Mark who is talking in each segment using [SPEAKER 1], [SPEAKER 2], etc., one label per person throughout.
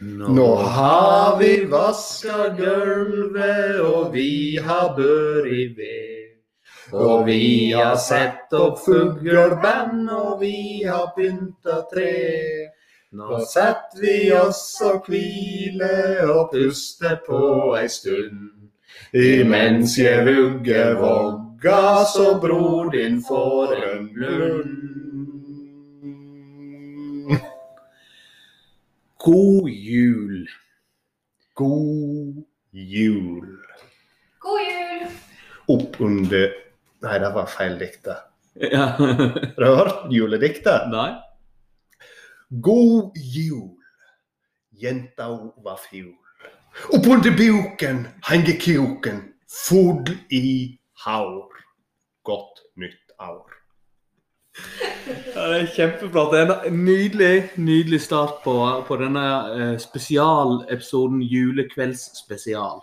[SPEAKER 1] Nå har vi vaska gulvet, og vi har bør i ved. Og vi har sett opp fugleband, og vi har pynta tre. Nå setter vi oss og hviler og puster på ei stund. Imens jeg vugger vogga, så bror din får en lund. God jul. God jul.
[SPEAKER 2] God jul!
[SPEAKER 1] Opp under Nei, det var feil dikta.
[SPEAKER 3] Ja.
[SPEAKER 1] Har du hørt juledikta?
[SPEAKER 3] Nei?
[SPEAKER 1] God jul, jenta var fjol. Oppunder buken henger kuken, fugl i haur. Godt nytt år.
[SPEAKER 3] Ja, det er kjempeflott. Det er En nydelig, nydelig start på, på denne eh, spesialepisoden Julekveldsspesial.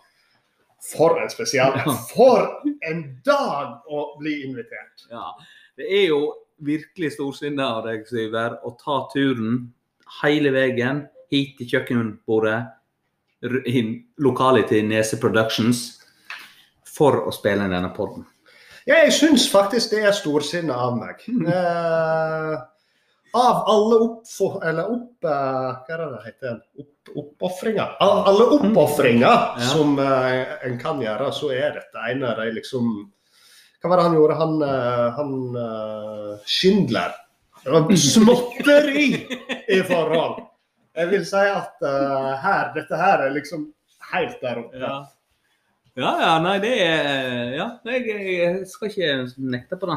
[SPEAKER 1] For en spesial.
[SPEAKER 3] Ja.
[SPEAKER 1] For en dag å bli invitert.
[SPEAKER 3] Ja. Det er jo virkelig storsinnet av deg, Syver, å ta turen hele veien hit til kjøkkenbordet r- i lokalet til Nese Productions for å spille inn denne podden.
[SPEAKER 1] Ja, jeg syns faktisk det er storsinnet av meg.
[SPEAKER 3] Hmm.
[SPEAKER 1] Eh, av alle oppfor... Eller opp... eh, hva er det det heter? Opp, oppofringer. Av alle oppofringer
[SPEAKER 3] Hmm. Ja.
[SPEAKER 1] som eh, en kan gjøre, så er dette en av de liksom Hva var det han gjorde? Han, eh, han eh, Schindler. Det var småtteri i forhold. Jeg vil si at eh, her, dette her er liksom helt der oppe.
[SPEAKER 3] Ja. Ja, ja, nei, det er eh, Ja, jeg, jeg skal ikke nekte på det.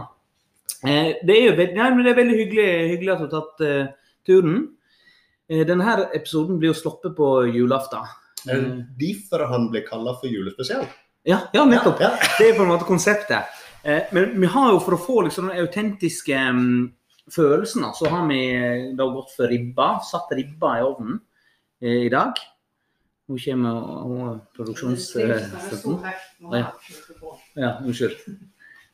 [SPEAKER 3] Eh, Det er jo veldig, nei, men det er veldig hyggelig, hyggelig at du har tatt eh, turen. Eh, denne her episoden blir jo sluppet på julaften.
[SPEAKER 1] Er det
[SPEAKER 3] Mm.
[SPEAKER 1] derfor han ble kalla for julespesial?
[SPEAKER 3] Ja, ja, nettopp.
[SPEAKER 1] Ja, ja.
[SPEAKER 3] Det er på en måte konseptet. Eh, men vi har jo for å få liksom den autentiske mm, følelsen, da, så har vi eh, da gått for ribba. Satt ribba i ovnen eh, i dag. Nå kommer hun eh, produksjonsstøtten. Ja. Ja, unnskyld.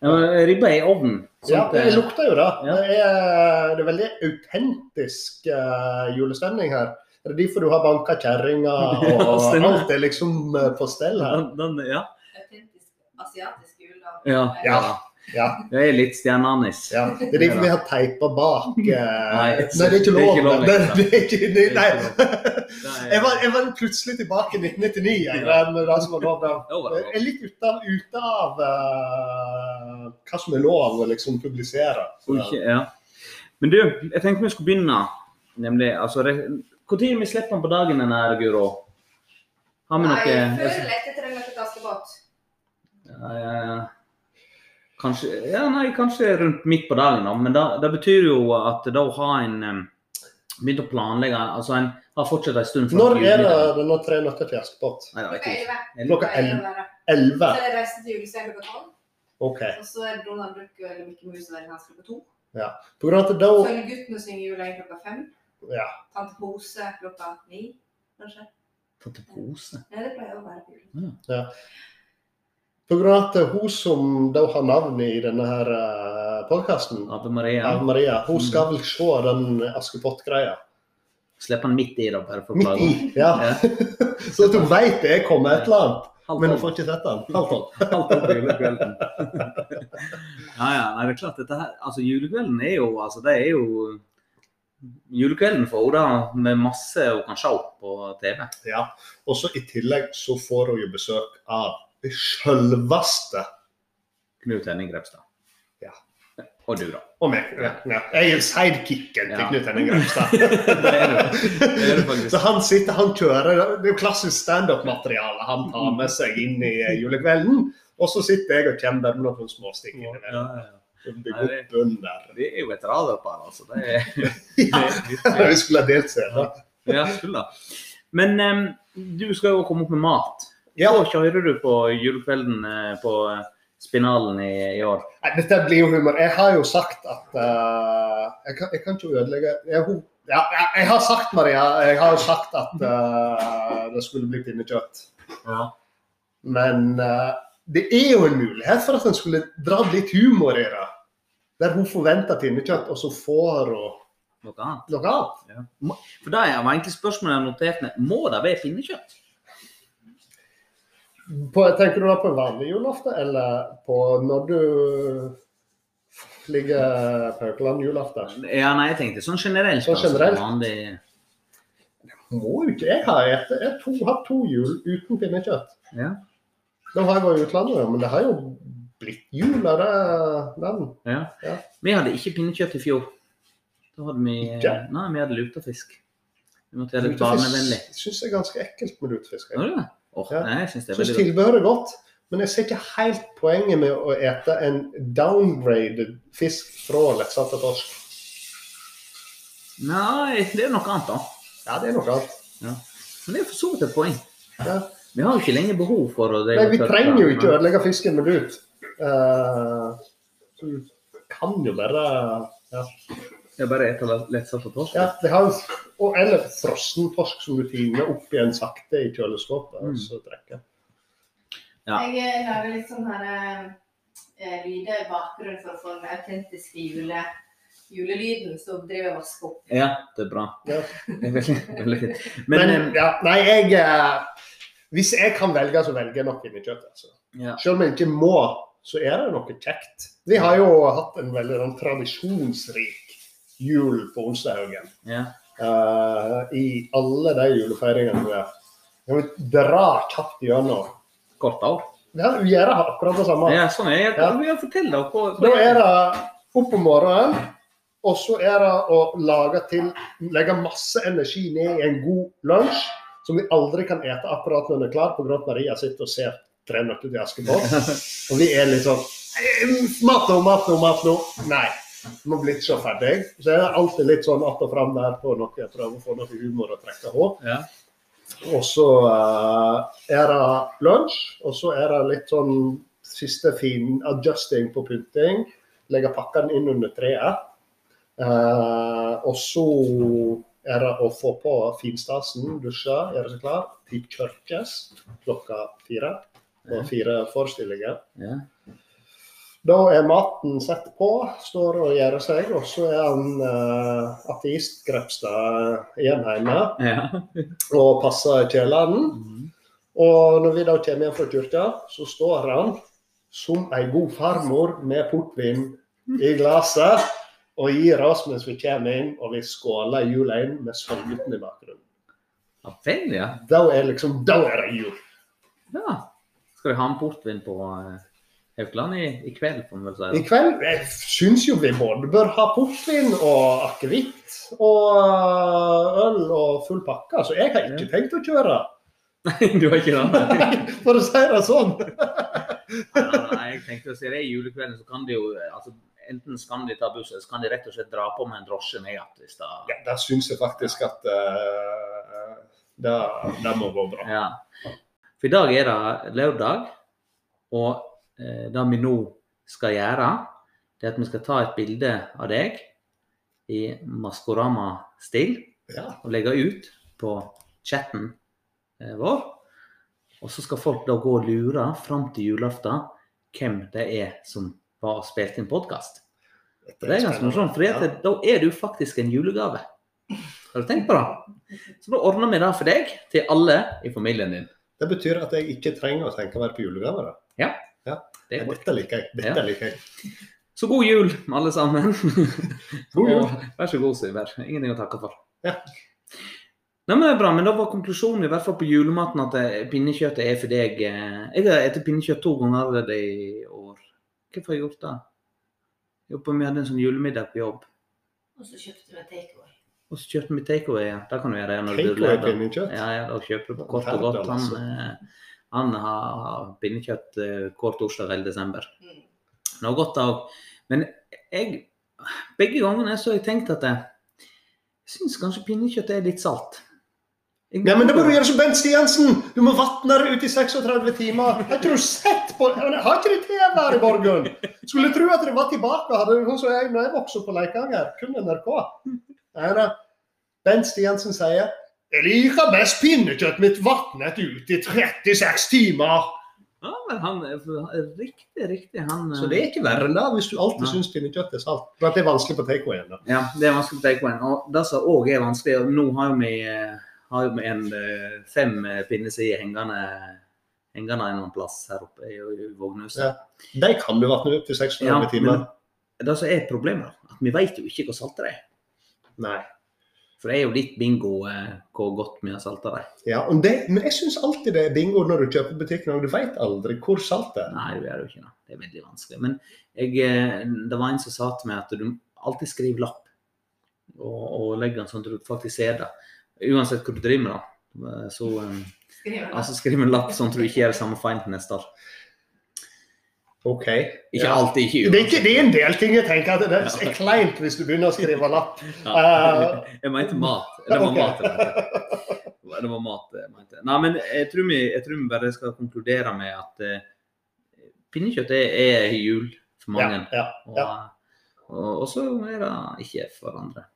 [SPEAKER 3] Ja, men Ribba er i ovnen. Sånn
[SPEAKER 1] Ja,
[SPEAKER 3] sant?
[SPEAKER 1] det lukter jo det.
[SPEAKER 3] Ja.
[SPEAKER 1] Det, er, det er veldig autentisk eh, julestemning her. Er det derfor du har banka kjerringa og
[SPEAKER 3] Ja, stemmer.
[SPEAKER 1] alt er liksom eh, på stell her?
[SPEAKER 3] Den- den- ja.
[SPEAKER 2] Asiatisk juledag.
[SPEAKER 3] Ja.
[SPEAKER 1] Ja. Ja,
[SPEAKER 3] Det er litt stjerneanis.
[SPEAKER 1] ja. Det er derfor vi har teipa bak eh,
[SPEAKER 3] Nei,
[SPEAKER 1] Nei, det er ikke lov. Det er, det er ikke, det, nei.
[SPEAKER 3] Det er-
[SPEAKER 1] Jeg var, jeg var plutselig tilbake i 1999. Jeg, men det som var lov, da.
[SPEAKER 3] Det var
[SPEAKER 1] Jeg
[SPEAKER 3] det.
[SPEAKER 1] er litt ute av, ute av eh, hva som er lov å liksom publisere.
[SPEAKER 3] Og ikke- Ja. Men du, jeg tenkte vi skulle begynne. Nemlig, altså det- Hvor tid vi slipper den på dagen, den her, Guro? Har vi
[SPEAKER 2] Nei,
[SPEAKER 3] noe
[SPEAKER 2] jeg føler lett etter en liten askebåt.
[SPEAKER 3] Ja, ja, ja. Kanskje, ja, nei, kanskje rundt midt på dagen, da. Men da- det betyr jo at da har en em, begynt å planlegge altså En har fortsatt en stund
[SPEAKER 1] Når er det denne Tre nøtter til Askepott?
[SPEAKER 3] Nei, det vet
[SPEAKER 2] Klokka
[SPEAKER 3] jeg
[SPEAKER 2] elleve.
[SPEAKER 3] ikke.
[SPEAKER 1] Klokka
[SPEAKER 2] Klokka
[SPEAKER 1] 11?
[SPEAKER 2] elleve er det. Så er det Reisen til julestjernen klokka tolv.
[SPEAKER 1] OK.
[SPEAKER 2] Og så er det Donald Duck og eller Mikke Mus og Verden hans klokka to.
[SPEAKER 1] På grunn av at da
[SPEAKER 2] Følgeguttene synger juleegg klokka fem.
[SPEAKER 1] Ja.
[SPEAKER 2] Tante Pose klokka ni, kanskje.
[SPEAKER 3] Fått en pose.
[SPEAKER 2] Nei, det pleier å være på jul.
[SPEAKER 1] På grunn av at hun som da har navnet i denne her eh, podcasten,
[SPEAKER 3] Ave Maria.
[SPEAKER 1] Anne Maria, hun skal vel se den Askepott-greia.
[SPEAKER 3] Slipp han midt i, da, bare for å
[SPEAKER 1] Midt i.
[SPEAKER 3] klage.
[SPEAKER 1] Ja.
[SPEAKER 3] Ja.
[SPEAKER 1] Så at hun veit det kommer et eller annet,
[SPEAKER 3] Halv
[SPEAKER 1] men hun
[SPEAKER 3] tolv.
[SPEAKER 1] får ikke sett den.
[SPEAKER 3] Halv tolv. Halv tolv på julekvelden. ja, ja. Nei, det er klart, dette her Altså, julekvelden er jo Altså, det er jo Julekvelden for Oda med masse hun kan se på TV.
[SPEAKER 1] Ja. Og så i tillegg så får hun jo besøk av sjølveste
[SPEAKER 3] Knut Henning Grepstad.
[SPEAKER 1] Ja.
[SPEAKER 3] Og du, da.
[SPEAKER 1] og meg. Ja, ja. Jeg er sidekicken til
[SPEAKER 3] Ja.
[SPEAKER 1] Knut Henning Grønstad.
[SPEAKER 3] Det er du. Det er du
[SPEAKER 1] Så
[SPEAKER 3] faktisk.
[SPEAKER 1] han sitter, han kjører, det er jo klassisk standup-materiale han tar
[SPEAKER 3] Mm.
[SPEAKER 1] med seg inn i eh, julekvelden. Og så sitter jeg og kommer med noen småstikk
[SPEAKER 3] Ja,
[SPEAKER 1] innimellom.
[SPEAKER 3] ja, ja.
[SPEAKER 1] og Bygger opp under.
[SPEAKER 3] Det er jo et radarpar, altså. Det er,
[SPEAKER 1] Ja,
[SPEAKER 3] det er
[SPEAKER 1] vi skulle ha delt scenen.
[SPEAKER 3] Ja, skulle da. Men em, du skal jo komme opp med mat.
[SPEAKER 1] Ja,
[SPEAKER 3] Hva kjører du på julekvelden eh, på eh, Spinalen i, i år?
[SPEAKER 1] nei, dette blir jo humor. Jeg har jo sagt at eh, jeg, kan, jeg kan ikke ødelegge jeg, hun- ja, ja, jeg har sagt, Maria, jeg har jo sagt at eh, det skulle bli pinnekjøtt.
[SPEAKER 3] Ja.
[SPEAKER 1] Men eh, det er jo en mulighet for at en skulle dra litt humor i det. Der hun forventer pinnekjøtt, og så får hun
[SPEAKER 3] Noe annet.
[SPEAKER 1] Noe annet?
[SPEAKER 3] For det var egentlig spørsmålet jeg noterte ned. Må det være pinnekjøtt?
[SPEAKER 1] På, tenker du da på vanlig julaften, eller på når du ligger på Haukeland julaften?
[SPEAKER 3] Ja, nei, jeg tenkte sånn generelt.
[SPEAKER 1] Sånn generelt?
[SPEAKER 3] Altså, vanlig-
[SPEAKER 1] Må jo ikke jeg ha et. Jeg har to, hatt to jul uten pinnekjøtt.
[SPEAKER 3] ja.
[SPEAKER 1] Nå har jeg vært i utlandet, ja, men det har jo blitt jul av det. Den.
[SPEAKER 3] Ja.
[SPEAKER 1] Ja.
[SPEAKER 3] Vi hadde ikke pinnekjøtt i fjor. Da hadde vi
[SPEAKER 1] Ikke?
[SPEAKER 3] Nei, vi hadde lutefisk. Vi måtte gjøre det barnevennlig.
[SPEAKER 1] Lutefisk syns jeg er ganske ekkelt med lutefisk. Jeg
[SPEAKER 3] Gjorde du det? Åh,
[SPEAKER 1] Ja.
[SPEAKER 3] nei, jeg syns det er
[SPEAKER 1] syns
[SPEAKER 3] veldig godt.
[SPEAKER 1] tilbehøret er godt, men jeg ser ikke helt poenget med å ete en downgraded fisk fra lettsatte torsk.
[SPEAKER 3] Nei, det er noe annet, da.
[SPEAKER 1] Ja, det er noe annet.
[SPEAKER 3] Men det er for så vidt et poeng.
[SPEAKER 1] Ja.
[SPEAKER 3] Vi har jo ikke lenger behov for å
[SPEAKER 1] Nei, vi trenger jo ikke å ødelegge fisken med lut. Eh, så du kan jo bare ja.
[SPEAKER 3] Jeg bare spiser lettsatt og torsk.
[SPEAKER 1] ja, det har jo og, Eller frossen torsk som du tiner opp igjen sakte i kjøleskapet.
[SPEAKER 3] Mm.
[SPEAKER 1] og så drikker.
[SPEAKER 3] Ja.
[SPEAKER 2] Jeg eh, lager litt sånn her eh, lyder i bakgrunnen for å få den autentiske jule, julelyden som driver og vasker opp.
[SPEAKER 3] Ja, det er bra.
[SPEAKER 1] Ja.
[SPEAKER 3] Det er veldig, veldig fint. Men,
[SPEAKER 1] Men,
[SPEAKER 3] eh,
[SPEAKER 1] ja, nei, jeg eh, Hvis jeg kan velge, så velger jeg nok pinnekjøtt. Altså.
[SPEAKER 3] ja.
[SPEAKER 1] Selv om jeg ikke må, så er det noe kjekt. Vi har jo hatt en veldig sånn tradisjonsrik jul på onsdaghaugen.
[SPEAKER 3] ja.
[SPEAKER 1] eh, i alle de julefeiringene vi har. Kan vi dra kjapt gjennom?
[SPEAKER 3] Kort år.
[SPEAKER 1] Ja, vi gjør det akkurat det samme.
[SPEAKER 3] Ja, sånn er det.
[SPEAKER 1] Ja.
[SPEAKER 3] Ja. Fortell deg hva
[SPEAKER 1] Da er det opp om morgenen, og så er det å lage til Legge masse energi ned i en god lunsj som vi aldri kan ete akkurat når den er klar, pga. at Maria sitter og ser Tre nøtter til Askepott. Og vi er litt sånn «Eh, Mat nå, mat nå, mat nå. Nei. Vi må bli så ferdig. Så er det alltid litt sånn att og fram der på noe. Jeg prøver å få noe humor og trekke håp.
[SPEAKER 3] Ja.
[SPEAKER 1] Og så eh, er det lunsj, og så er det litt sånn siste fin adjusting på pynting. Legge pakkene inn under treet. Eh, og så er det å få på finstasen, dusje, gjøre seg klar. Til kirkes klokka fire. Og fire forestillinger.
[SPEAKER 3] Ja.
[SPEAKER 1] Da er maten satt på, står og gjør seg, og så er han eh, ateist Grepstad igjen hjemme
[SPEAKER 3] Ja.
[SPEAKER 1] og passer kjelene.
[SPEAKER 3] Mhm.
[SPEAKER 1] Og når vi da kommer hjem fra kyrkja, så står han som ei god farmor med portvin i glasset og gir oss mens vi kommer inn og vi skåler jula inn med Sølvgutten i bakgrunnen.
[SPEAKER 3] Ja, vel, ja.
[SPEAKER 1] Da er liksom, da er det jul.
[SPEAKER 3] ja. Skal vi ha en portvin på eh, Haukeland i, i kveld, får vi vel si.
[SPEAKER 1] I kveld jeg syns jo vi både bør ha portvin og akevitt og øl og full pakke, så jeg har ikke tenkt å kjøre.
[SPEAKER 3] Nei, du har ikke det? Nei,
[SPEAKER 1] For å si det sånn.
[SPEAKER 3] nei, nei, jeg tenkte å si det er julekvelden, så kan de jo eh, altså, Enten skal de ta buss, eller så kan de rett og slett dra på med en drosje ned igjen. hvis det-
[SPEAKER 1] Ja, der syns jeg faktisk at eh, det, det må gå bra.
[SPEAKER 3] Ja. For i dag er det lørdag, og eh, det vi nå skal gjøre, det er at vi skal ta et bilde av deg i Maskorama-stil
[SPEAKER 1] Ja.
[SPEAKER 3] og legge ut på chatten eh, vår. Og så skal folk da gå og lure fram til julaften hvem det er som var og spilte inn podkast. Det er ganske morsomt, for
[SPEAKER 1] Ja.
[SPEAKER 3] da er du faktisk en julegave. Har du tenkt på det? Så da ordner vi det for deg til alle i familien din.
[SPEAKER 1] Det betyr at jeg ikke trenger å tenke mer på julegaver. da.
[SPEAKER 3] Det er
[SPEAKER 1] Ja,
[SPEAKER 3] godt.
[SPEAKER 1] Dette liker jeg. Dette
[SPEAKER 3] Ja.
[SPEAKER 1] liker jeg.
[SPEAKER 3] Så god jul, alle sammen.
[SPEAKER 1] God jul.
[SPEAKER 3] Og Vær så god, Syver. Ingenting å takke for.
[SPEAKER 1] Ja.
[SPEAKER 3] Nei, men det er bra, men Da var konklusjonen i hvert fall på julematen at eh, pinnekjøttet er for deg eh, Jeg har spist pinnekjøtt to ganger allerede i år. Hvorfor har jeg gjort det? Jeg håper Vi hadde en sånn julemiddag på jobb,
[SPEAKER 2] Og så kjøpte vi takeaway.
[SPEAKER 3] og så kjøpte vi takeaway. ja. Det kan du gjøre når du er
[SPEAKER 1] Takeaway
[SPEAKER 3] leder.
[SPEAKER 1] pinnekjøtt.
[SPEAKER 3] Ja, ja, da kjøper du på kort og
[SPEAKER 1] Herregud,
[SPEAKER 3] godt. Han,
[SPEAKER 1] altså.
[SPEAKER 3] eh, han har, har pinnekjøtt eh, hver torsdag eller desember.
[SPEAKER 2] Mm.
[SPEAKER 3] noe godt av. Men jeg, begge gangene så har jeg tenkt at jeg syns kanskje pinnekjøtt er litt salt. Jeg-
[SPEAKER 1] Nei, men det må du gjøre som Bent Stiansen! Du må vatne det ut i 36 timer. Har ikke du sett på Han Har ikke du TV her i Borgen? Skulle tro at det var tilbake. Hadde du sånn som jeg når jeg vokste opp på Leikanger. Kun NRK. Nei, nei. Bent Stiansen sier Jeg liker best pinnekjøtt mitt vatnet ut i 36 timer.
[SPEAKER 3] Ja, men han er for- riktig, riktig. Han eh,
[SPEAKER 1] Så det er ikke verre enn det hvis du alltid
[SPEAKER 3] Nei.
[SPEAKER 1] syns pinnekjøtt er salt. For at det er vanskelig på takeawayen. da.
[SPEAKER 3] Ja, det er vanskelig på takeawayen. Og det som òg er vanskelig og Nå har jo vi, eh, har jo vi en eh, fem eh, pinnesider hengende, hengende en eller annen plass her oppe i, i Vågnehuset.
[SPEAKER 1] Ja. De kan du vatne opp til 600
[SPEAKER 3] Ja,
[SPEAKER 1] timer.
[SPEAKER 3] men det som er problemet, er at vi vet jo ikke hvor salte de er.
[SPEAKER 1] Nei.
[SPEAKER 3] For det er jo litt bingo eh, hvor godt vi har salta dem.
[SPEAKER 1] Ja, og det, men jeg syns alltid det er bingo når du kjøper butikken, og du veit aldri hvor salt det er.
[SPEAKER 3] Nei, det er jo ikke det. Det er veldig vanskelig. Men jeg, eh, det var en som sa til meg at du alltid skriver lapp, og, og legger den sånn at du faktisk ser det. Uansett hva du driver med, da. Eh, Så eh,
[SPEAKER 2] Skriver han.
[SPEAKER 3] Altså Skriv en lapp sånn at du ikke gjør det samme feil til neste år.
[SPEAKER 1] OK.
[SPEAKER 3] Ikke
[SPEAKER 1] Ja.
[SPEAKER 3] alltid, ikke
[SPEAKER 1] Det er, ikke, det er en del ting jeg tenker at det er kleint hvis du begynner å skrive lapp.
[SPEAKER 3] Ja. Jeg mente mat. Det var
[SPEAKER 1] Eh, Ok.
[SPEAKER 3] mat. jeg mente. Det var mat jeg mente. Nei, men jeg tror vi, jeg tror vi bare skal konkludere med at eh, pinnekjøtt er, er jul for
[SPEAKER 1] Ja,
[SPEAKER 3] mange.
[SPEAKER 1] ja, ja.
[SPEAKER 3] Og, og, og så er det ikke for andre.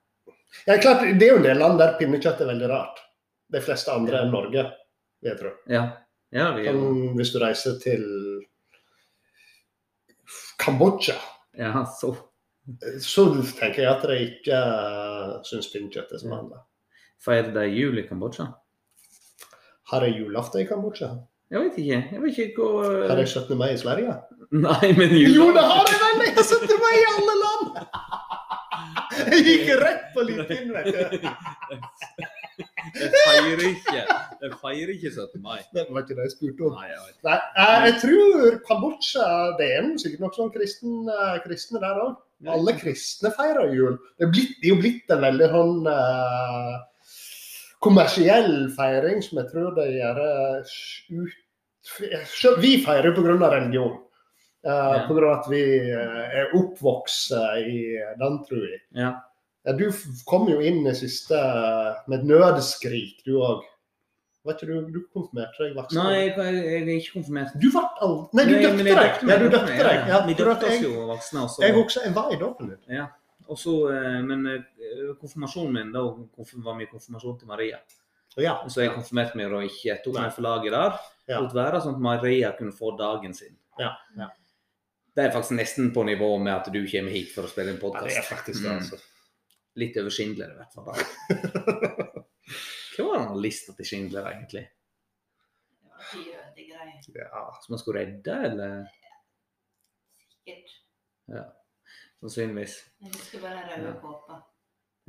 [SPEAKER 1] Ja, klart, det er jo en del land der pinnekjøtt er veldig rart. De fleste andre enn Norge, vil jeg tro.
[SPEAKER 3] Ja. ja vi,
[SPEAKER 1] Som hvis du reiser til Kambodsja,
[SPEAKER 3] ja, så.
[SPEAKER 1] så tenker jeg at de ikke syns pinnekjøtt er som annet.
[SPEAKER 3] Feirer de jul i Kambodsja?
[SPEAKER 1] Har de julaften i Kambodsja?
[SPEAKER 3] Jeg vet ikke. Jeg vet ikke
[SPEAKER 1] Har
[SPEAKER 3] hvor
[SPEAKER 1] de 17. mai i Sverige?
[SPEAKER 3] Nei, men jul
[SPEAKER 1] Jo, det har de vel! Jeg har 17. mai i alle land! Jeg gikk rett på linjen, vet du.
[SPEAKER 3] Jeg feirer ikke. Jeg feirer ikke 17. mai.
[SPEAKER 1] Det var ikke det jeg spurte om.
[SPEAKER 3] Nei, jeg vet.
[SPEAKER 1] Nei, eh, jeg tror Kambodsja det er noe, sikkert nok sånn kristen, eh, kristne der òg. Alle kristne feirer jul. Det er, blitt, det er jo blitt en veldig sånn eh, kommersiell feiring som jeg tror de gjør eh, ut... Selv vi feirer pga. religion. Eh,
[SPEAKER 3] Ja.
[SPEAKER 1] På grunn av at vi eh, er oppvokst eh, i den, tror jeg.
[SPEAKER 3] Ja.
[SPEAKER 1] Ja, du f- kom jo inn i siste eh, med et nødskrik, du òg. Vet ikke, du, du konfirmerte deg vaksen?
[SPEAKER 3] Nei, jeg, jeg, jeg er ikke konfirmert.
[SPEAKER 1] Du ble aldri Nei, du døpte
[SPEAKER 3] men jeg
[SPEAKER 1] deg!
[SPEAKER 3] meg,
[SPEAKER 1] Ja, du
[SPEAKER 3] jeg
[SPEAKER 1] døpte
[SPEAKER 3] meg,
[SPEAKER 1] deg. Ja,
[SPEAKER 3] Vi
[SPEAKER 1] for at
[SPEAKER 3] døpte oss
[SPEAKER 1] jeg,
[SPEAKER 3] jo voksne. Og
[SPEAKER 1] jeg
[SPEAKER 3] så,
[SPEAKER 1] også, jeg var i dåpen din.
[SPEAKER 3] og så, eh, men eh, konfirmasjonen min, da konfirm- var min konfirmasjon til Maria.
[SPEAKER 1] Ja.
[SPEAKER 3] Så jeg konfirmerte meg da ikke. Jeg tok meg for laget der.
[SPEAKER 1] Ja.
[SPEAKER 3] Lot være sånn at Maria kunne få dagen sin.
[SPEAKER 1] Ja, ja.
[SPEAKER 3] Det er faktisk nesten på nivå med at du kommer hit for å spille en
[SPEAKER 1] ja, det er
[SPEAKER 3] podkast.
[SPEAKER 1] faktisk det,
[SPEAKER 3] Mm.
[SPEAKER 1] altså.
[SPEAKER 3] Litt over Schindler, i hvert fall. da. Hva var den lista til Schindler, egentlig?
[SPEAKER 2] Det var Jødegreier.
[SPEAKER 1] Ja.
[SPEAKER 3] Som han skulle redde, eller?
[SPEAKER 2] Sikkert.
[SPEAKER 3] Sannsynligvis.
[SPEAKER 2] Jeg husker bare den røde kåpa.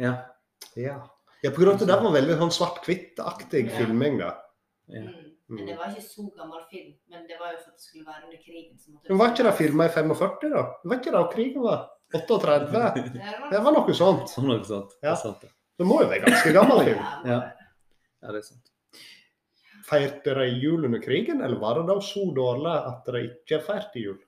[SPEAKER 3] Ja.
[SPEAKER 1] Mm. ja. ja på grunn av at det der var veldig sånn svart-hvitt-aktig
[SPEAKER 2] Ja.
[SPEAKER 1] filming, da.
[SPEAKER 3] ja.
[SPEAKER 2] Mm. Men det var ikke så gammel film. Men det var jo for at det skulle være under krigen. Så måtte
[SPEAKER 1] Men var ikke det filma i 45, da? Var ikke det da krigen var? 38? Det var noe sånt.
[SPEAKER 3] Sånn noe sånt. Det
[SPEAKER 1] Ja.
[SPEAKER 3] er sant, det.
[SPEAKER 1] Det må jo være ganske gammel film.
[SPEAKER 3] Ja. Ja, det er sant.
[SPEAKER 1] Feirte de jul under krigen, eller var det da så dårlig at de ikke feirte jul?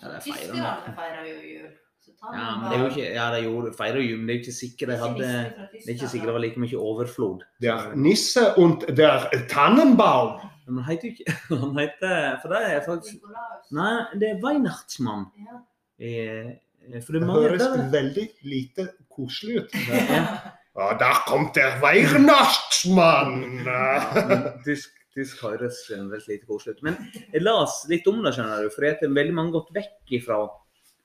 [SPEAKER 3] Ja, det er feil,
[SPEAKER 2] Tyskerne feirer jo jul. Så ta
[SPEAKER 3] Ja, men det er jo ikke, ja, de gjorde feirer jo, men det er jo ikke sikkert de hadde Det er ikke sikkert det var like mye overflod.
[SPEAKER 1] Der Nisse und der Tannenbaum.
[SPEAKER 3] Men han heter jo ikke Han heter For det er faktisk Nei, det er Weihnachtsmann.
[SPEAKER 2] Ja.
[SPEAKER 3] Eh, For
[SPEAKER 1] Det
[SPEAKER 3] det er mange
[SPEAKER 1] høres
[SPEAKER 3] der.
[SPEAKER 1] veldig lite koselig ut.
[SPEAKER 3] Ja.
[SPEAKER 1] Ja, der kom der Weihnachtsmann!
[SPEAKER 3] Men Tysk, tysk høres generelt lite koselig ut. Men jeg las litt om det, skjønner du, for det er veldig mange gått vekk ifra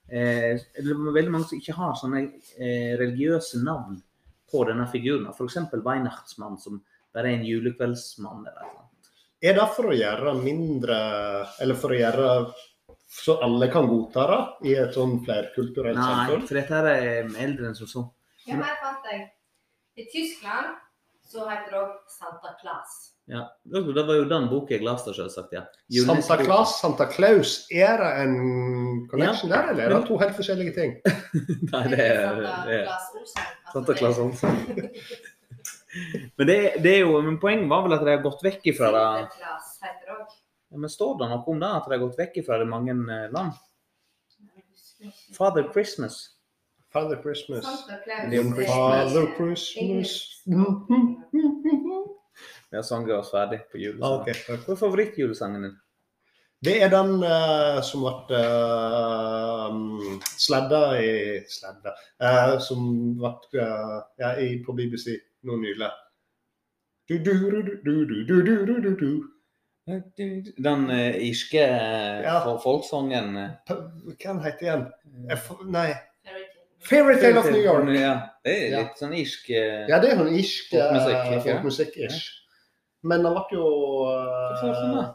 [SPEAKER 3] eh, eller Veldig mange som ikke har sånne eh, religiøse navn på denne figuren. F.eks. Weihnachtsmann, som bare er en julekveldsmann. eller noe.
[SPEAKER 1] Er det for å gjøre mindre Eller for å gjøre så alle kan godta det i et sånn flerkulturelt
[SPEAKER 3] Nei,
[SPEAKER 1] samfunn?
[SPEAKER 3] for dette her er eldre enn som så.
[SPEAKER 2] Hvem her fant jeg? I Tyskland så heter det òg Santa Claus.
[SPEAKER 3] Ja. Det var jo den boka jeg leste, selvsagt. Ja.
[SPEAKER 1] Santa
[SPEAKER 3] Julenissen-
[SPEAKER 1] Claus, Santa Claus, er det en connection der, eller er det
[SPEAKER 3] men-
[SPEAKER 1] to helt forskjellige ting?
[SPEAKER 3] Nei, det er, det er.
[SPEAKER 2] Altså,
[SPEAKER 3] Santa Claus Hansen. Men det, er- det er jo, men poenget var vel at de har gått vekk ifra det.
[SPEAKER 2] Santa Claus heter det òg.
[SPEAKER 3] Ja, men står det noe om det, at de har gått vekk fra det i mange eh, land? Father Christmas.
[SPEAKER 1] Father Christmas.
[SPEAKER 2] Santa Claus.
[SPEAKER 3] Det er jo
[SPEAKER 2] eh,
[SPEAKER 1] Father Christmas Mm-hmm.
[SPEAKER 3] Vi har sanget oss ferdig på
[SPEAKER 1] Ah,
[SPEAKER 3] julesangen.
[SPEAKER 1] ok, takk.
[SPEAKER 3] Hva er favorittjulesangen din?
[SPEAKER 1] Det er den eh, som ble uh, sladda i Sladda eh, Som ble eh, ja, i, på BBC nå nylig. Du, du, du, du, du, du, du, du, du, du, du.
[SPEAKER 3] Den eh, irske eh,
[SPEAKER 1] Ja.
[SPEAKER 3] for folksangen eh,
[SPEAKER 1] P- Hva den heter igjen? F nei.
[SPEAKER 2] Fairy tale.
[SPEAKER 1] Fairytale of New York.
[SPEAKER 3] Ja, det er
[SPEAKER 1] Ja.
[SPEAKER 3] litt sånn irsk eh,
[SPEAKER 1] Ja, det er sånn irsk eh,
[SPEAKER 3] Folkmusikk, ikke?
[SPEAKER 1] folkmusikk-ish. Men den ble jo
[SPEAKER 3] Hvorfor er det sånn, da?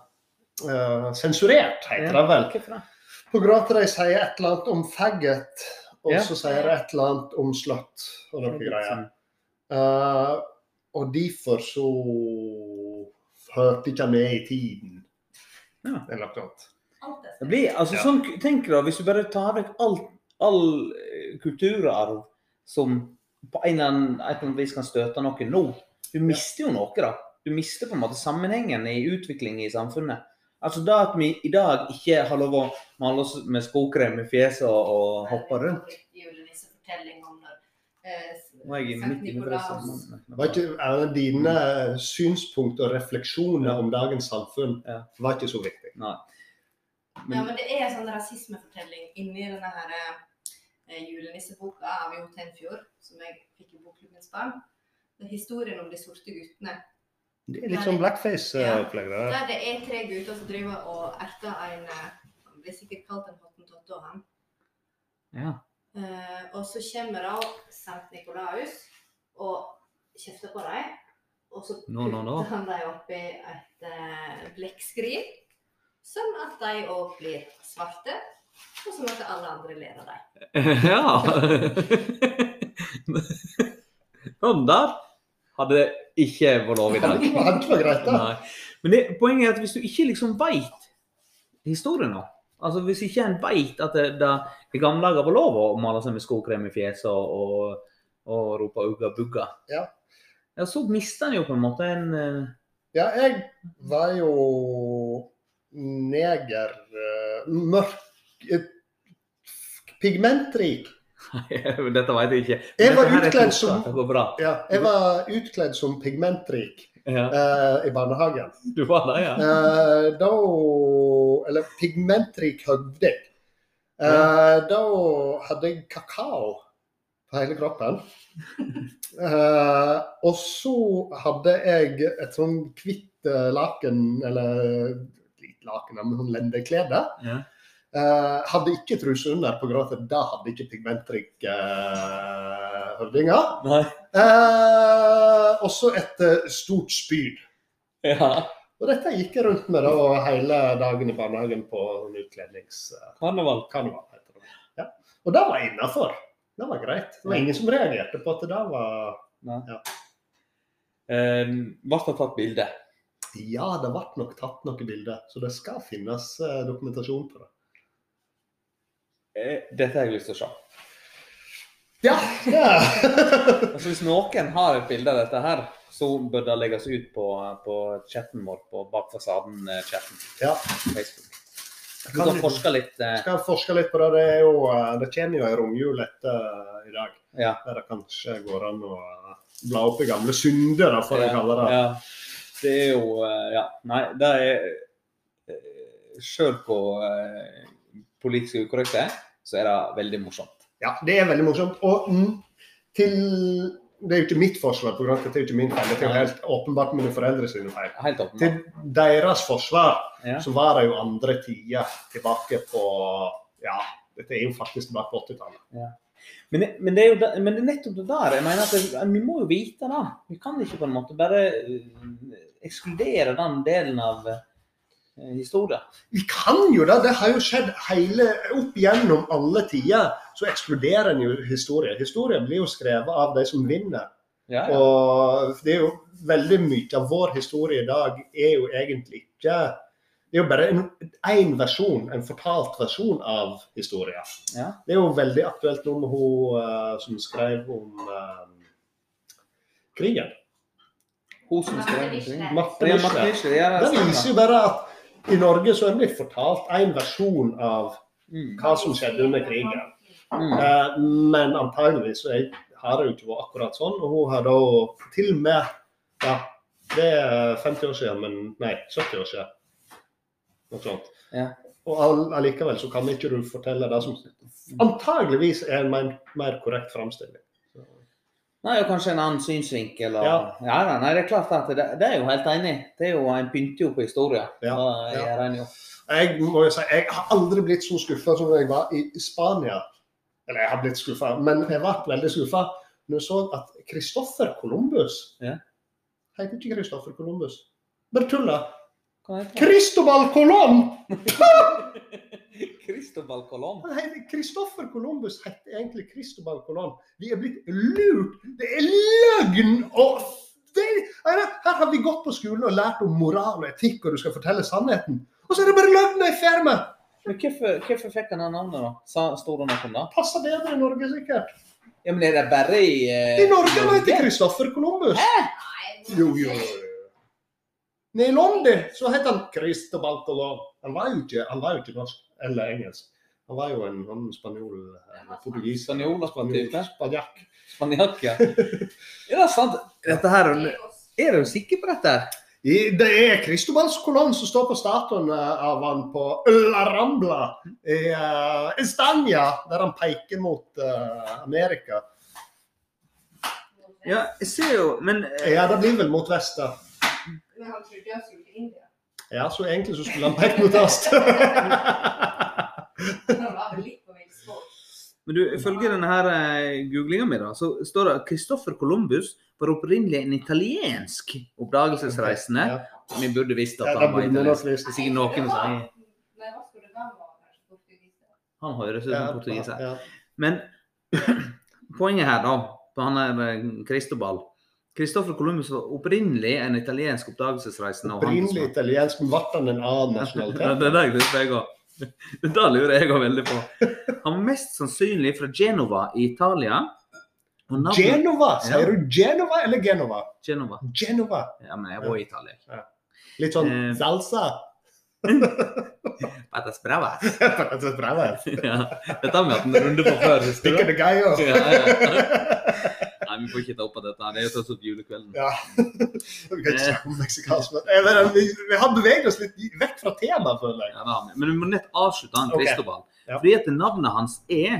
[SPEAKER 1] eh, eh, sensurert, heter det vel.
[SPEAKER 3] Hvorfor det?
[SPEAKER 1] På grunn av at de sier et eller annet om faggot, og
[SPEAKER 3] Ja.
[SPEAKER 1] så sier de et eller annet om sløtt og noe greier.
[SPEAKER 3] Sånn.
[SPEAKER 1] Eh, og derfor så hørte ikke han med i tiden.
[SPEAKER 3] Ja.
[SPEAKER 1] Eller noe annet.
[SPEAKER 2] Alt er
[SPEAKER 3] Det blir, altså,
[SPEAKER 1] Ja.
[SPEAKER 3] sånn, tenk deg da, hvis du bare tar vekk all, all eh, kulturarv som på en eller annen, et eller annet vis kan støte noen nå, du mister jo noe da. Du mister på en måte sammenhengen i utvikling i samfunnet. Altså da at vi i dag ikke har lov å male oss med skokrem i fjeset og, og hoppe rundt.
[SPEAKER 2] Det er jo disse fortellingene om når eh,
[SPEAKER 3] Nå er jeg midt inne på det samme.
[SPEAKER 1] Var ikke, er dine synspunkt og refleksjoner
[SPEAKER 3] Mm. Ja.
[SPEAKER 1] om dagens samfunn
[SPEAKER 3] Ja.
[SPEAKER 1] var ikke så viktig.
[SPEAKER 3] Nei.
[SPEAKER 2] Ja,
[SPEAKER 3] Men,
[SPEAKER 2] men det er en sånn rasismefortelling inni denne her eh, julenisseboka av Jo Tenfjord, som jeg fikk i Bokklubbens barn. Det er historien om de sorte guttene.
[SPEAKER 1] Det er litt sånn blackface-opplegg. det der.
[SPEAKER 2] Der det er tre gutter som driver og erter en eh, Han blir sikkert kalt en hottentott og han.
[SPEAKER 3] ja.
[SPEAKER 2] Eh, og så kommer da Sankt Nikolaus og kjefter på dem. Og så
[SPEAKER 3] Nå, nå, nå.
[SPEAKER 2] putter han dem oppi et eh, blekkskrin, sånn at de òg blir svarte. Og sånn at alle andre ler av dem.
[SPEAKER 3] Ja. Sånn der hadde det ikke vært lov i
[SPEAKER 1] Kan
[SPEAKER 3] dag.
[SPEAKER 1] ikke være- kan ikke være greit, da.
[SPEAKER 3] Nei. Men det, poenget er at hvis du ikke liksom veit historien nå Altså Hvis ikke en veit at det, det i gamle dager var lov å male seg med skokrem i fjeset og, og, og rope 'ugga bugga',
[SPEAKER 1] Ja.
[SPEAKER 3] ja, så mister en jo på en måte en eh,
[SPEAKER 1] Ja, jeg var jo neger eh, Mørk eh, Pigmentrik.
[SPEAKER 3] Dette veit jeg ikke.
[SPEAKER 1] Jeg var
[SPEAKER 3] Dette her er
[SPEAKER 1] utkledd
[SPEAKER 3] klokt,
[SPEAKER 1] som-
[SPEAKER 3] Det går bra.
[SPEAKER 1] Ja, jeg var utkledd som pigmentrik
[SPEAKER 3] Ja,
[SPEAKER 1] eh, i barnehagen.
[SPEAKER 3] du var det, ja?
[SPEAKER 1] Eh, da Eller pigmentrik høvding. Eh, da hadde jeg kakao på hele kroppen. Eh, og så hadde jeg et sånn hvitt eh, laken, eller hvitt laken, men sånn lendeklede.
[SPEAKER 3] ja.
[SPEAKER 1] Eh, hadde ikke truse under, på grunn av at da hadde ikke pigmentrik eh, høvdinger.
[SPEAKER 3] Nei.
[SPEAKER 1] Eh, også et eh, stort spyd.
[SPEAKER 3] Ja.
[SPEAKER 1] Og dette gikk jeg rundt med da hele dagen i barnehagen på en utkledningskarneval.
[SPEAKER 3] Karneval.
[SPEAKER 1] heter det. Ja. Og det var innafor. Det var greit. Det var ingen som reagerte på at det der var
[SPEAKER 3] Eh, ble det tatt bilde?
[SPEAKER 1] Ja, det ble nok tatt noen bilder, så det skal finnes eh, dokumentasjon på det.
[SPEAKER 3] Eh, Dette har jeg lyst til å se.
[SPEAKER 1] Ja! ja.
[SPEAKER 3] Altså, hvis noen har et bilde av dette her, så bør det legges ut på, på chatten vår på Bak fasaden-chatten
[SPEAKER 1] ja.
[SPEAKER 3] på Facebook. Du
[SPEAKER 1] Kan
[SPEAKER 3] kan
[SPEAKER 1] du-
[SPEAKER 3] forske litt. eh,
[SPEAKER 1] Skal forske litt på det. Det, er jo, eh, det kommer jo ei romjul etter eh, i dag,
[SPEAKER 3] Ja.
[SPEAKER 1] der det kanskje går an å eh, bla opp i gamle synder, da, får jeg kalle det.
[SPEAKER 3] Ja, det er jo eh, Ja. Nei, det er Sjøl på eh, politisk ukorrekte, så er det veldig morsomt.
[SPEAKER 1] Ja, det er veldig morsomt. Og mm, til Det er jo ikke mitt forsvar, på grunn av at det er jo ikke min feil. Det er jo helt åpenbart mine foreldre sine feil.
[SPEAKER 3] Helt åpenbart.
[SPEAKER 1] Til deres forsvar
[SPEAKER 3] Ja.
[SPEAKER 1] så var det jo andre tider tilbake på Ja, dette er jo faktisk tilbake på 80-tallet.
[SPEAKER 3] Men, det- men, det er jo det, men det er nettopp det der. jeg mener at det, Vi må jo vite det. Vi kan ikke på en måte bare eh, ekskludere den delen av eh, historien.
[SPEAKER 1] Vi kan jo det! Det har jo skjedd hele Opp gjennom alle tider så eksploderer en jo historie. Historie blir jo skrevet av de som vinner.
[SPEAKER 3] Ja, ja.
[SPEAKER 1] Og det er jo veldig mye av vår historie i dag er jo egentlig ikke Det er jo bare en- én versjon, en fortalt versjon av historien.
[SPEAKER 3] Ja.
[SPEAKER 1] Det er jo veldig aktuelt nå med hun eh, som skrev om eh, krigen.
[SPEAKER 3] Hun som skrev
[SPEAKER 2] Marte Nischler.
[SPEAKER 3] den.
[SPEAKER 1] Marte
[SPEAKER 3] Ja, Marte
[SPEAKER 1] Nisle.
[SPEAKER 3] Nischler, ja, det
[SPEAKER 1] Det
[SPEAKER 3] stemmer.
[SPEAKER 1] viser jo bare at i Norge så er det blitt fortalt én versjon av
[SPEAKER 3] Mm.
[SPEAKER 1] hva som skjedde under krigen.
[SPEAKER 3] Mm.
[SPEAKER 1] Eh, Men antageligvis så er- har det jo ikke vært akkurat sånn. Og hun har da til og med Ja, det er 50 år siden, men nei, 70 år siden. Noe sånt.
[SPEAKER 3] Ja.
[SPEAKER 1] Og all- allikevel så kan ikke du fortelle det som antageligvis er en mer, mer korrekt framstilling.
[SPEAKER 3] Nei, og kanskje en annen synsvinkel. Og... Ja.
[SPEAKER 1] Ja.
[SPEAKER 3] da, nei, det er klart at det, det er jeg jo helt enig. i. Det er jo en pynter jo på historia.
[SPEAKER 1] Ja,
[SPEAKER 3] Da
[SPEAKER 1] ja.
[SPEAKER 3] gjør en jo.
[SPEAKER 1] Jeg må jo si, jeg har aldri blitt så skuffa som jeg var i Spania. Eller jeg har blitt skuffa, men jeg ble veldig skuffa når jeg så at Kristoffer Columbus
[SPEAKER 3] Ja.
[SPEAKER 1] Heter ikke Kristoffer Columbus? Bare tulla.
[SPEAKER 3] Hva heter det?
[SPEAKER 1] Cristobal Colón!
[SPEAKER 3] Cristobal Colón.
[SPEAKER 1] Han heter Kristoffer Columbus heter egentlig Cristobal Colón. Vi er blitt lurt! Det er løgn! Og f- det, her, her har vi gått på skolen og lært om moral og etikk, og du skal fortelle sannheten. Og så er det bare løgn jeg er i ferd med!
[SPEAKER 3] Men hvorfor, hvorfor fikk han det navnet, da? Sa, sto det noe om det?
[SPEAKER 1] Passer bedre i Norge, sikkert.
[SPEAKER 3] Ja, men er det bare i eh,
[SPEAKER 1] I Norge var ikke Kristoffer Columbus.
[SPEAKER 2] Nei,
[SPEAKER 1] Jo, jo, jo. jo. Nei, I London så het han Cristobal Colón. Han var jo ikke, han var jo ikke norsk eller engelsk. Han var jo en, en spanjol eller portugis.
[SPEAKER 3] Spanjol og spanjol.
[SPEAKER 1] Spanjakk.
[SPEAKER 3] Spanjakk, ja. Er det sant? Dette her, er du sikker på dette? her?
[SPEAKER 1] I- Det er Cristobals Colón som står på statuen eh, av han på La Rambla i eh, Estania, der han peker mot eh, Amerika.
[SPEAKER 3] Ja, jeg ser jo, men eh,
[SPEAKER 1] Ja, det blir vel mot vest, da.
[SPEAKER 2] Men han trodde jeg skulle til India.
[SPEAKER 1] Ja, så egentlig så skulle han peke mot øst.
[SPEAKER 2] Han var vel litt på villspor.
[SPEAKER 3] Men du, ifølge denne her eh, googlinga mi, da, så står det at Christoffer Columbus var opprinnelig en italiensk oppdagelsesreisende.
[SPEAKER 1] Ja.
[SPEAKER 3] Vi burde visst at
[SPEAKER 1] Ja,
[SPEAKER 3] han
[SPEAKER 1] det
[SPEAKER 3] var
[SPEAKER 1] burde nok
[SPEAKER 3] italiensk.
[SPEAKER 1] visst.
[SPEAKER 3] Det er sikkert noen som
[SPEAKER 2] Nei, hva skulle det være? Var kanskje portugiser?
[SPEAKER 3] Han høres ut
[SPEAKER 1] Ja,
[SPEAKER 3] som portugiser.
[SPEAKER 1] ja.
[SPEAKER 3] Men poenget her, da, på han her eh, Cristobal Christoffer Columbus var opprinnelig en italiensk oppdagelsesreisende. og
[SPEAKER 1] Opprinnelig
[SPEAKER 3] handelsmann.
[SPEAKER 1] italiensk, men ble han en annen
[SPEAKER 3] Ja,
[SPEAKER 1] nasjonalitet?
[SPEAKER 3] det er det jeg lurer på, jeg òg. Det lurer jeg òg veldig på. Han var mest sannsynlig fra Genova i Italia. Og navnet
[SPEAKER 1] Genova!
[SPEAKER 3] Ja.
[SPEAKER 1] Sier du Genova eller Genova?
[SPEAKER 3] Genova.
[SPEAKER 1] Genova.
[SPEAKER 3] Ja, men jeg var i Italia.
[SPEAKER 1] Litt sånn
[SPEAKER 3] Eh. Mm.
[SPEAKER 1] salsa.
[SPEAKER 3] Patas bravas.
[SPEAKER 1] Det er bra, det.
[SPEAKER 3] ja, dette har vi hatt en runde på før. husker
[SPEAKER 1] Stikker
[SPEAKER 3] du?
[SPEAKER 1] det greier.
[SPEAKER 3] Ja, ja. Nei, vi får ikke ta opp på dette. Det er jo tross alt julekvelden.
[SPEAKER 1] Ja. Vi kan ikke snakke om meksikansk, men jeg vet, vi, vi har beveget oss litt vekk fra temaet, føler jeg.
[SPEAKER 3] Ja, det har vi. Men vi må nett avslutte han
[SPEAKER 1] Ok.
[SPEAKER 3] Cristobal.
[SPEAKER 1] Ja.
[SPEAKER 3] Fordi at navnet hans er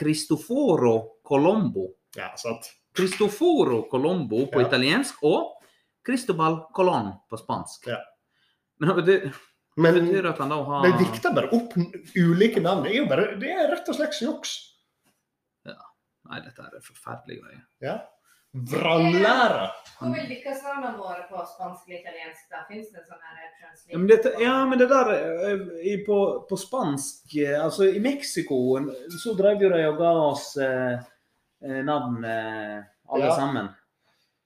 [SPEAKER 3] Cristoforo Colombo.
[SPEAKER 1] Ja, sant.
[SPEAKER 3] Cristoforo Colombo på
[SPEAKER 1] Ja.
[SPEAKER 3] italiensk og Cristobal Colón på spansk.
[SPEAKER 1] Ja.
[SPEAKER 3] Men det betyr,
[SPEAKER 1] Men
[SPEAKER 3] det betyr at han da har
[SPEAKER 1] det vikter bare opp ulike navn. Det er jo bare, det er rett og slett juks.
[SPEAKER 3] Nei, dette er forferdelige greier.
[SPEAKER 1] Ja. Vranglære.
[SPEAKER 2] Hvor vil lykkesnavnene våre på spansk eller italiensk? Da finnes det en sånn her
[SPEAKER 3] Ja,
[SPEAKER 2] translate?
[SPEAKER 3] men det, ja, men det der eh, i, på, på spansk eh, Altså, i Mexico en- så drev jo de og ga oss eh, eh, navn eh, alle
[SPEAKER 1] Ja.
[SPEAKER 3] sammen.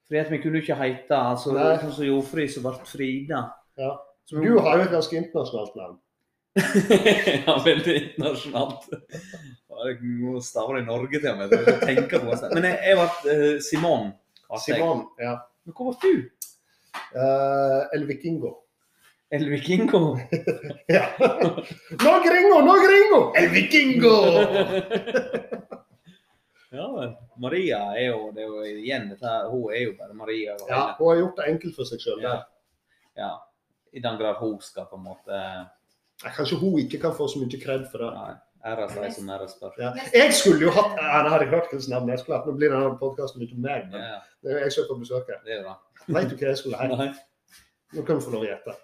[SPEAKER 3] Fordi at vi kunne ikke heite altså,
[SPEAKER 1] Nei.
[SPEAKER 3] Sånn som Jofrid, som ble Frida.
[SPEAKER 1] Ja.
[SPEAKER 3] Som-
[SPEAKER 1] Du har jo et ganske internasjonalt navn.
[SPEAKER 3] ja, veldig internasjonalt. Ja, Jeg må stave det i Norge til og med. jeg tenker på det. Men jeg, jeg ble eh, Simon.
[SPEAKER 1] Simon. Ja.
[SPEAKER 3] Men hvor ble du?
[SPEAKER 1] Eh, eller vikingo.
[SPEAKER 3] El Vikingo.
[SPEAKER 1] Ja. Nå gringo, nå gringo! El vikingo!
[SPEAKER 3] ja vel. Maria er jo, det er jo igjen dette her, hun er jo bare Maria. og
[SPEAKER 1] Ja,
[SPEAKER 3] hele-
[SPEAKER 1] hun har gjort det enkelt for seg sjøl.
[SPEAKER 3] ja. ja. I den grad hun skal på en måte
[SPEAKER 1] Kanskje hun ikke kan få så mye kred for det.
[SPEAKER 3] ja, æres de som æres bør.
[SPEAKER 1] Ja. Jeg skulle jo hatt ja, Nå har jeg hørt hvilket navn jeg skulle hatt. Nå blir denne podkasten litt om meg, men
[SPEAKER 3] Ja,
[SPEAKER 1] det er jo jeg som er på besøk her.
[SPEAKER 3] det er bra.
[SPEAKER 1] Vet du hva jeg skulle hett?
[SPEAKER 3] Nei.
[SPEAKER 1] Nå kan du få lov å gjette.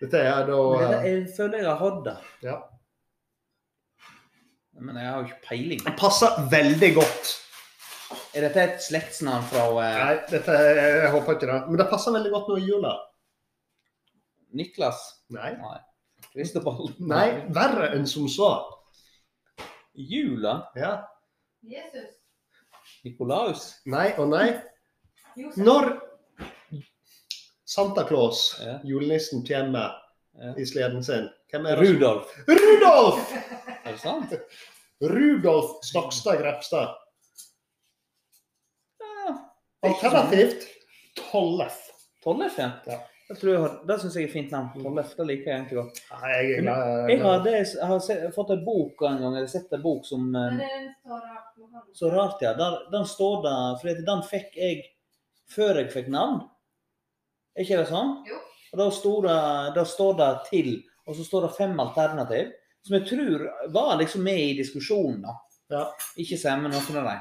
[SPEAKER 1] Dette er da
[SPEAKER 3] Men
[SPEAKER 1] eh,
[SPEAKER 3] det- Jeg føler jeg har hatt det.
[SPEAKER 1] ja.
[SPEAKER 3] Men jeg har jo ikke peiling.
[SPEAKER 1] Den passer veldig godt.
[SPEAKER 3] Er dette et slektsnavn fra eh,
[SPEAKER 1] Nei, dette, jeg håper ikke det. Men det passer veldig godt nå i jula.
[SPEAKER 3] Niklas?
[SPEAKER 1] Nei.
[SPEAKER 3] Nei. Kristobal?
[SPEAKER 1] Nei, verre enn som så.
[SPEAKER 3] Jula?
[SPEAKER 1] Ja.
[SPEAKER 2] Jesus.
[SPEAKER 3] Nikolaus?
[SPEAKER 1] Nei og nei.
[SPEAKER 2] Josef.
[SPEAKER 1] Når Santa Claus,
[SPEAKER 3] Ja.
[SPEAKER 1] julenissen, kommer
[SPEAKER 3] Ja.
[SPEAKER 1] i sleden sin Hvem er det? som-
[SPEAKER 3] Rudolf?
[SPEAKER 1] Rudolf!
[SPEAKER 3] Er det sant?
[SPEAKER 1] Rudolf Stokstad Grepstad.
[SPEAKER 3] Ja.
[SPEAKER 1] Alternativt Tollef.
[SPEAKER 3] Tollef, ja.
[SPEAKER 1] Ja.
[SPEAKER 3] Jeg tror jeg har, det syns jeg er fint navn. Tollef, det liker jeg egentlig godt.
[SPEAKER 1] Nei, jeg er glad
[SPEAKER 3] Jeg har, det, jeg har se, fått en bok en gang, eller sett en bok som
[SPEAKER 2] Men
[SPEAKER 3] eh,
[SPEAKER 2] det er en Torah Mohammed.
[SPEAKER 3] Så rart, ja. Der, den står der, for den fikk jeg før jeg fikk navn. Er ikke det sånn?
[SPEAKER 2] Jo.
[SPEAKER 3] Og da, sto det, da står det 'til', og så står det fem alternativ. Som jeg tror var liksom med i diskusjonen, da.
[SPEAKER 1] Ja.
[SPEAKER 3] Ikke Sem, men noen av dem.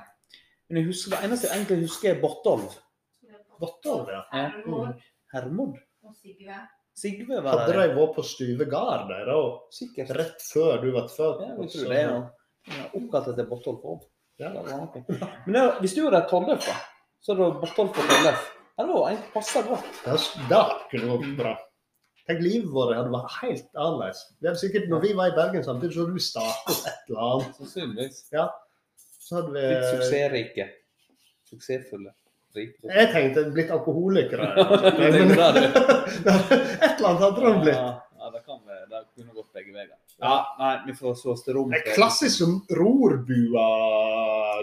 [SPEAKER 3] Men jeg husker, det eneste jeg egentlig husker, er Botolv. Mm.
[SPEAKER 1] Botolv, ja.
[SPEAKER 2] Hermod
[SPEAKER 3] Hermod.
[SPEAKER 2] og Sigve.
[SPEAKER 3] Sigve var
[SPEAKER 1] Hadde
[SPEAKER 3] der.
[SPEAKER 1] de vært på Stuve gard, de, da?
[SPEAKER 3] Sikkert.
[SPEAKER 1] Rett før du ble født?
[SPEAKER 3] Ja, jeg
[SPEAKER 1] så-
[SPEAKER 3] tror det, ja. Ja, Oppkalt etter Botolf òg.
[SPEAKER 1] Ja.
[SPEAKER 3] Men det, hvis du hadde Tollef, da, så hadde du Botolf og Tollef. Ja, Det var egentlig passa godt.
[SPEAKER 1] Det, det kunne
[SPEAKER 3] Mm.
[SPEAKER 1] gått bra. Tenk livet vårt hadde vært helt annerledes. Det er sikkert Når vi var i Bergen samtidig, så hadde du startet et eller annet.
[SPEAKER 3] Sannsynligvis.
[SPEAKER 1] Så hadde
[SPEAKER 3] Litt
[SPEAKER 1] vi
[SPEAKER 3] suksessrike. Suksessfulle. Rike.
[SPEAKER 1] Jeg tenkte blitt alkoholikere.
[SPEAKER 3] Du tenkte det, du.
[SPEAKER 1] et eller annet hadde de blitt.
[SPEAKER 3] Ja, ja, det kan være. Det kunne gått begge veier. Ja, nei, vi får slå oss til rom.
[SPEAKER 1] Det er
[SPEAKER 3] for-
[SPEAKER 1] klassisk som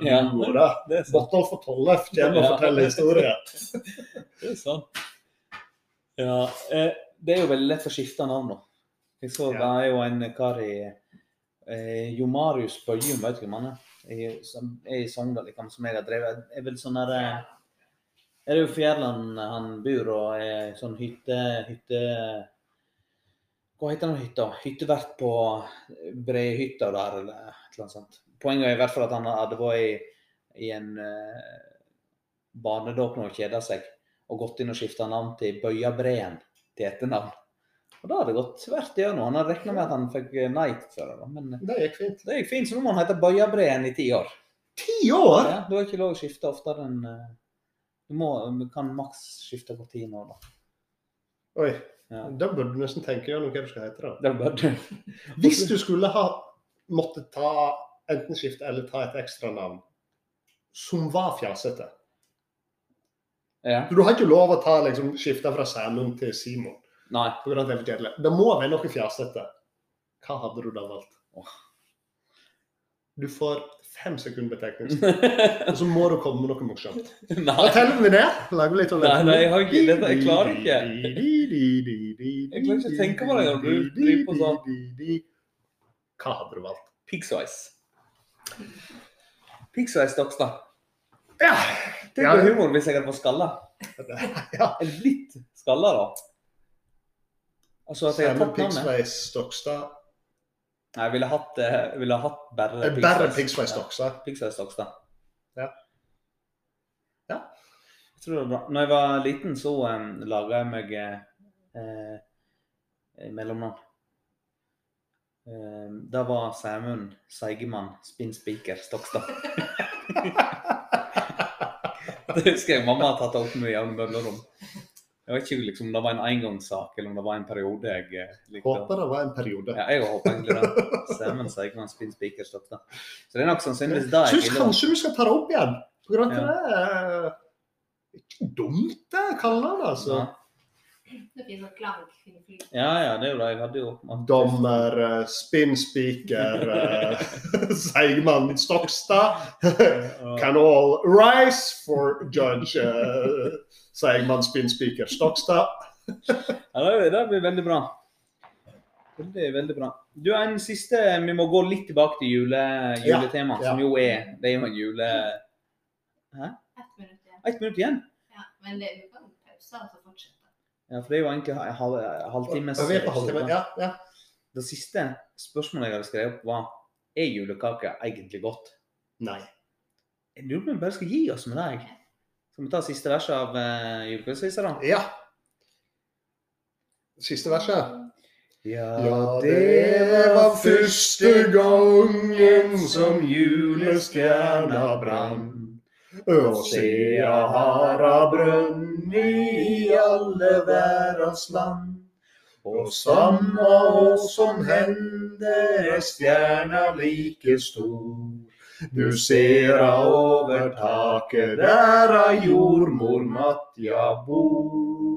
[SPEAKER 1] rorbua-duo. da.
[SPEAKER 3] Det er sant.
[SPEAKER 1] Botolf og Tollef kommer og
[SPEAKER 3] Ja.
[SPEAKER 1] forteller historier.
[SPEAKER 3] Det er sant. Ja, eh, det er jo veldig lett å skifte navn nå. Jeg så det er jo en kar i eh, Jo Marius Bøyum, vet du hvem han er? I- Som er i Sogndal, liksom, som jeg har drevet. Er vel sånn der eh, Er det jo Fjærland han bor og er sånn hytte... hytte hva heter den hytta? Hyttevert på Brehytta der, eller et eller annet sånt. Poenget er i hvert fall at han hadde vært i, i en eh, barnedåp nå og kjeda seg og gått inn og skifta navn til Bøyabreen til etternavn. Og da hadde det gått tvert igjennom. Han hadde regna med at han fikk eh, nei for det, da, men
[SPEAKER 1] Det gikk fint.
[SPEAKER 3] det gikk fint, så nå må han hete Bøyabreen i ti år.
[SPEAKER 1] Ti år!
[SPEAKER 3] Ja, du har ikke lov å skifte oftere enn eh, Du må, kan maks skifte på ti nå, da.
[SPEAKER 1] Oi,
[SPEAKER 3] Ja.
[SPEAKER 1] Da burde du nesten tenke gjennom hva du skal hete. da.
[SPEAKER 3] Det er bare du.
[SPEAKER 1] Hvis du skulle ha måttet ta enten skifte eller ta et ekstra navn som var fjasete
[SPEAKER 3] Ja.
[SPEAKER 1] For Du har ikke lov å ta liksom, skifte fra Sæmund til Simon.
[SPEAKER 3] Nei.
[SPEAKER 1] På grunn av at det er for kjedelig. Det må være noe fjasete. Hva hadde du da valgt?
[SPEAKER 3] Åh.
[SPEAKER 1] Du får fem sekunder betenkningstid, og så må du komme med noe morsomt. Da
[SPEAKER 3] nei.
[SPEAKER 1] teller vi ned. Lager vi litt av
[SPEAKER 3] Nei, nei, jeg har ikke- dette- jeg klarer Jeg klarer ikke å tenke på det når du driver på
[SPEAKER 1] sånn. Hva hadde du valgt?
[SPEAKER 3] Piggsveis. Piggsveis Dokstad.
[SPEAKER 1] Ja.
[SPEAKER 3] Tenk
[SPEAKER 1] Ja.
[SPEAKER 3] på humor hvis jeg hadde fått skalla.
[SPEAKER 1] ja.
[SPEAKER 3] Eller blitt skalla, da. Altså at jeg hadde
[SPEAKER 1] Salmon
[SPEAKER 3] tatt navnet.
[SPEAKER 1] Pigsveis Stokstad.
[SPEAKER 3] Nei, jeg ville hatt, eh, ville hatt bare
[SPEAKER 1] Eh, Bare Pigsveis Stokstad.
[SPEAKER 3] Ja, Piggsveis Dokstad.
[SPEAKER 1] Ja. Ja.
[SPEAKER 3] Jeg tror det var bra. Når jeg var liten, så um, laga jeg meg eh, eh, mellomnavn. Eh, det var Sæmund Seigemann Spinnspiker Stokstad. Det husker jeg mamma har tatt opp med jevne mellomrom. Jeg vet ikke liksom, om det var en engangssak eller om det var en periode jeg eh, likte. å-
[SPEAKER 1] Håper det var en periode.
[SPEAKER 3] Ja, jeg håper egentlig det. Stemmen sier ikke man spinner spiker stopp, da. Så det er nok sannsynligvis det jeg
[SPEAKER 1] Syns
[SPEAKER 3] ville valgt.
[SPEAKER 1] kanskje du skal ta det opp igjen. På grunn av at det er ikke dumt, det kaller han altså.
[SPEAKER 2] Det finnes sånn klangflyt.
[SPEAKER 3] Ja, ja, det er jo det. Jeg hadde jo man-
[SPEAKER 1] Dommer, eh, spinnspiker, eh, Seigmann Stokstad.
[SPEAKER 3] Og-
[SPEAKER 1] Can all rise for judge eh, Seigmann spinnspiker Stokstad.
[SPEAKER 3] Ja, det, det blir veldig bra. Veldig, veldig bra. Du, en siste Vi må gå litt tilbake til jule,
[SPEAKER 1] Ja,
[SPEAKER 3] juletema,
[SPEAKER 1] ja.
[SPEAKER 3] som jo er Det er jo en jule...
[SPEAKER 2] Ett minutt igjen.
[SPEAKER 3] Ett minutt igjen.
[SPEAKER 2] Ja, men det, vi kan pause og så fortsette.
[SPEAKER 3] Ja, for det er jo egentlig en halv, halvtimes
[SPEAKER 1] Ja, vi er på halvtime. Ja, ja.
[SPEAKER 3] Det siste spørsmålet jeg hadde skrevet opp, var er julekake egentlig godt?
[SPEAKER 1] Nei.
[SPEAKER 3] Jeg lurer på om vi bare skal gi oss med det. jeg. Skal vi ta siste verset av uh, julekveldsvisa, da?
[SPEAKER 1] Ja. Siste verset. Ja, det var første gangen som julestjerna brann. Og sea har brønnet i alle verdens land. Og samme år som hende er stjerna like stor. Du ser over taket der av jordmor Matja bor.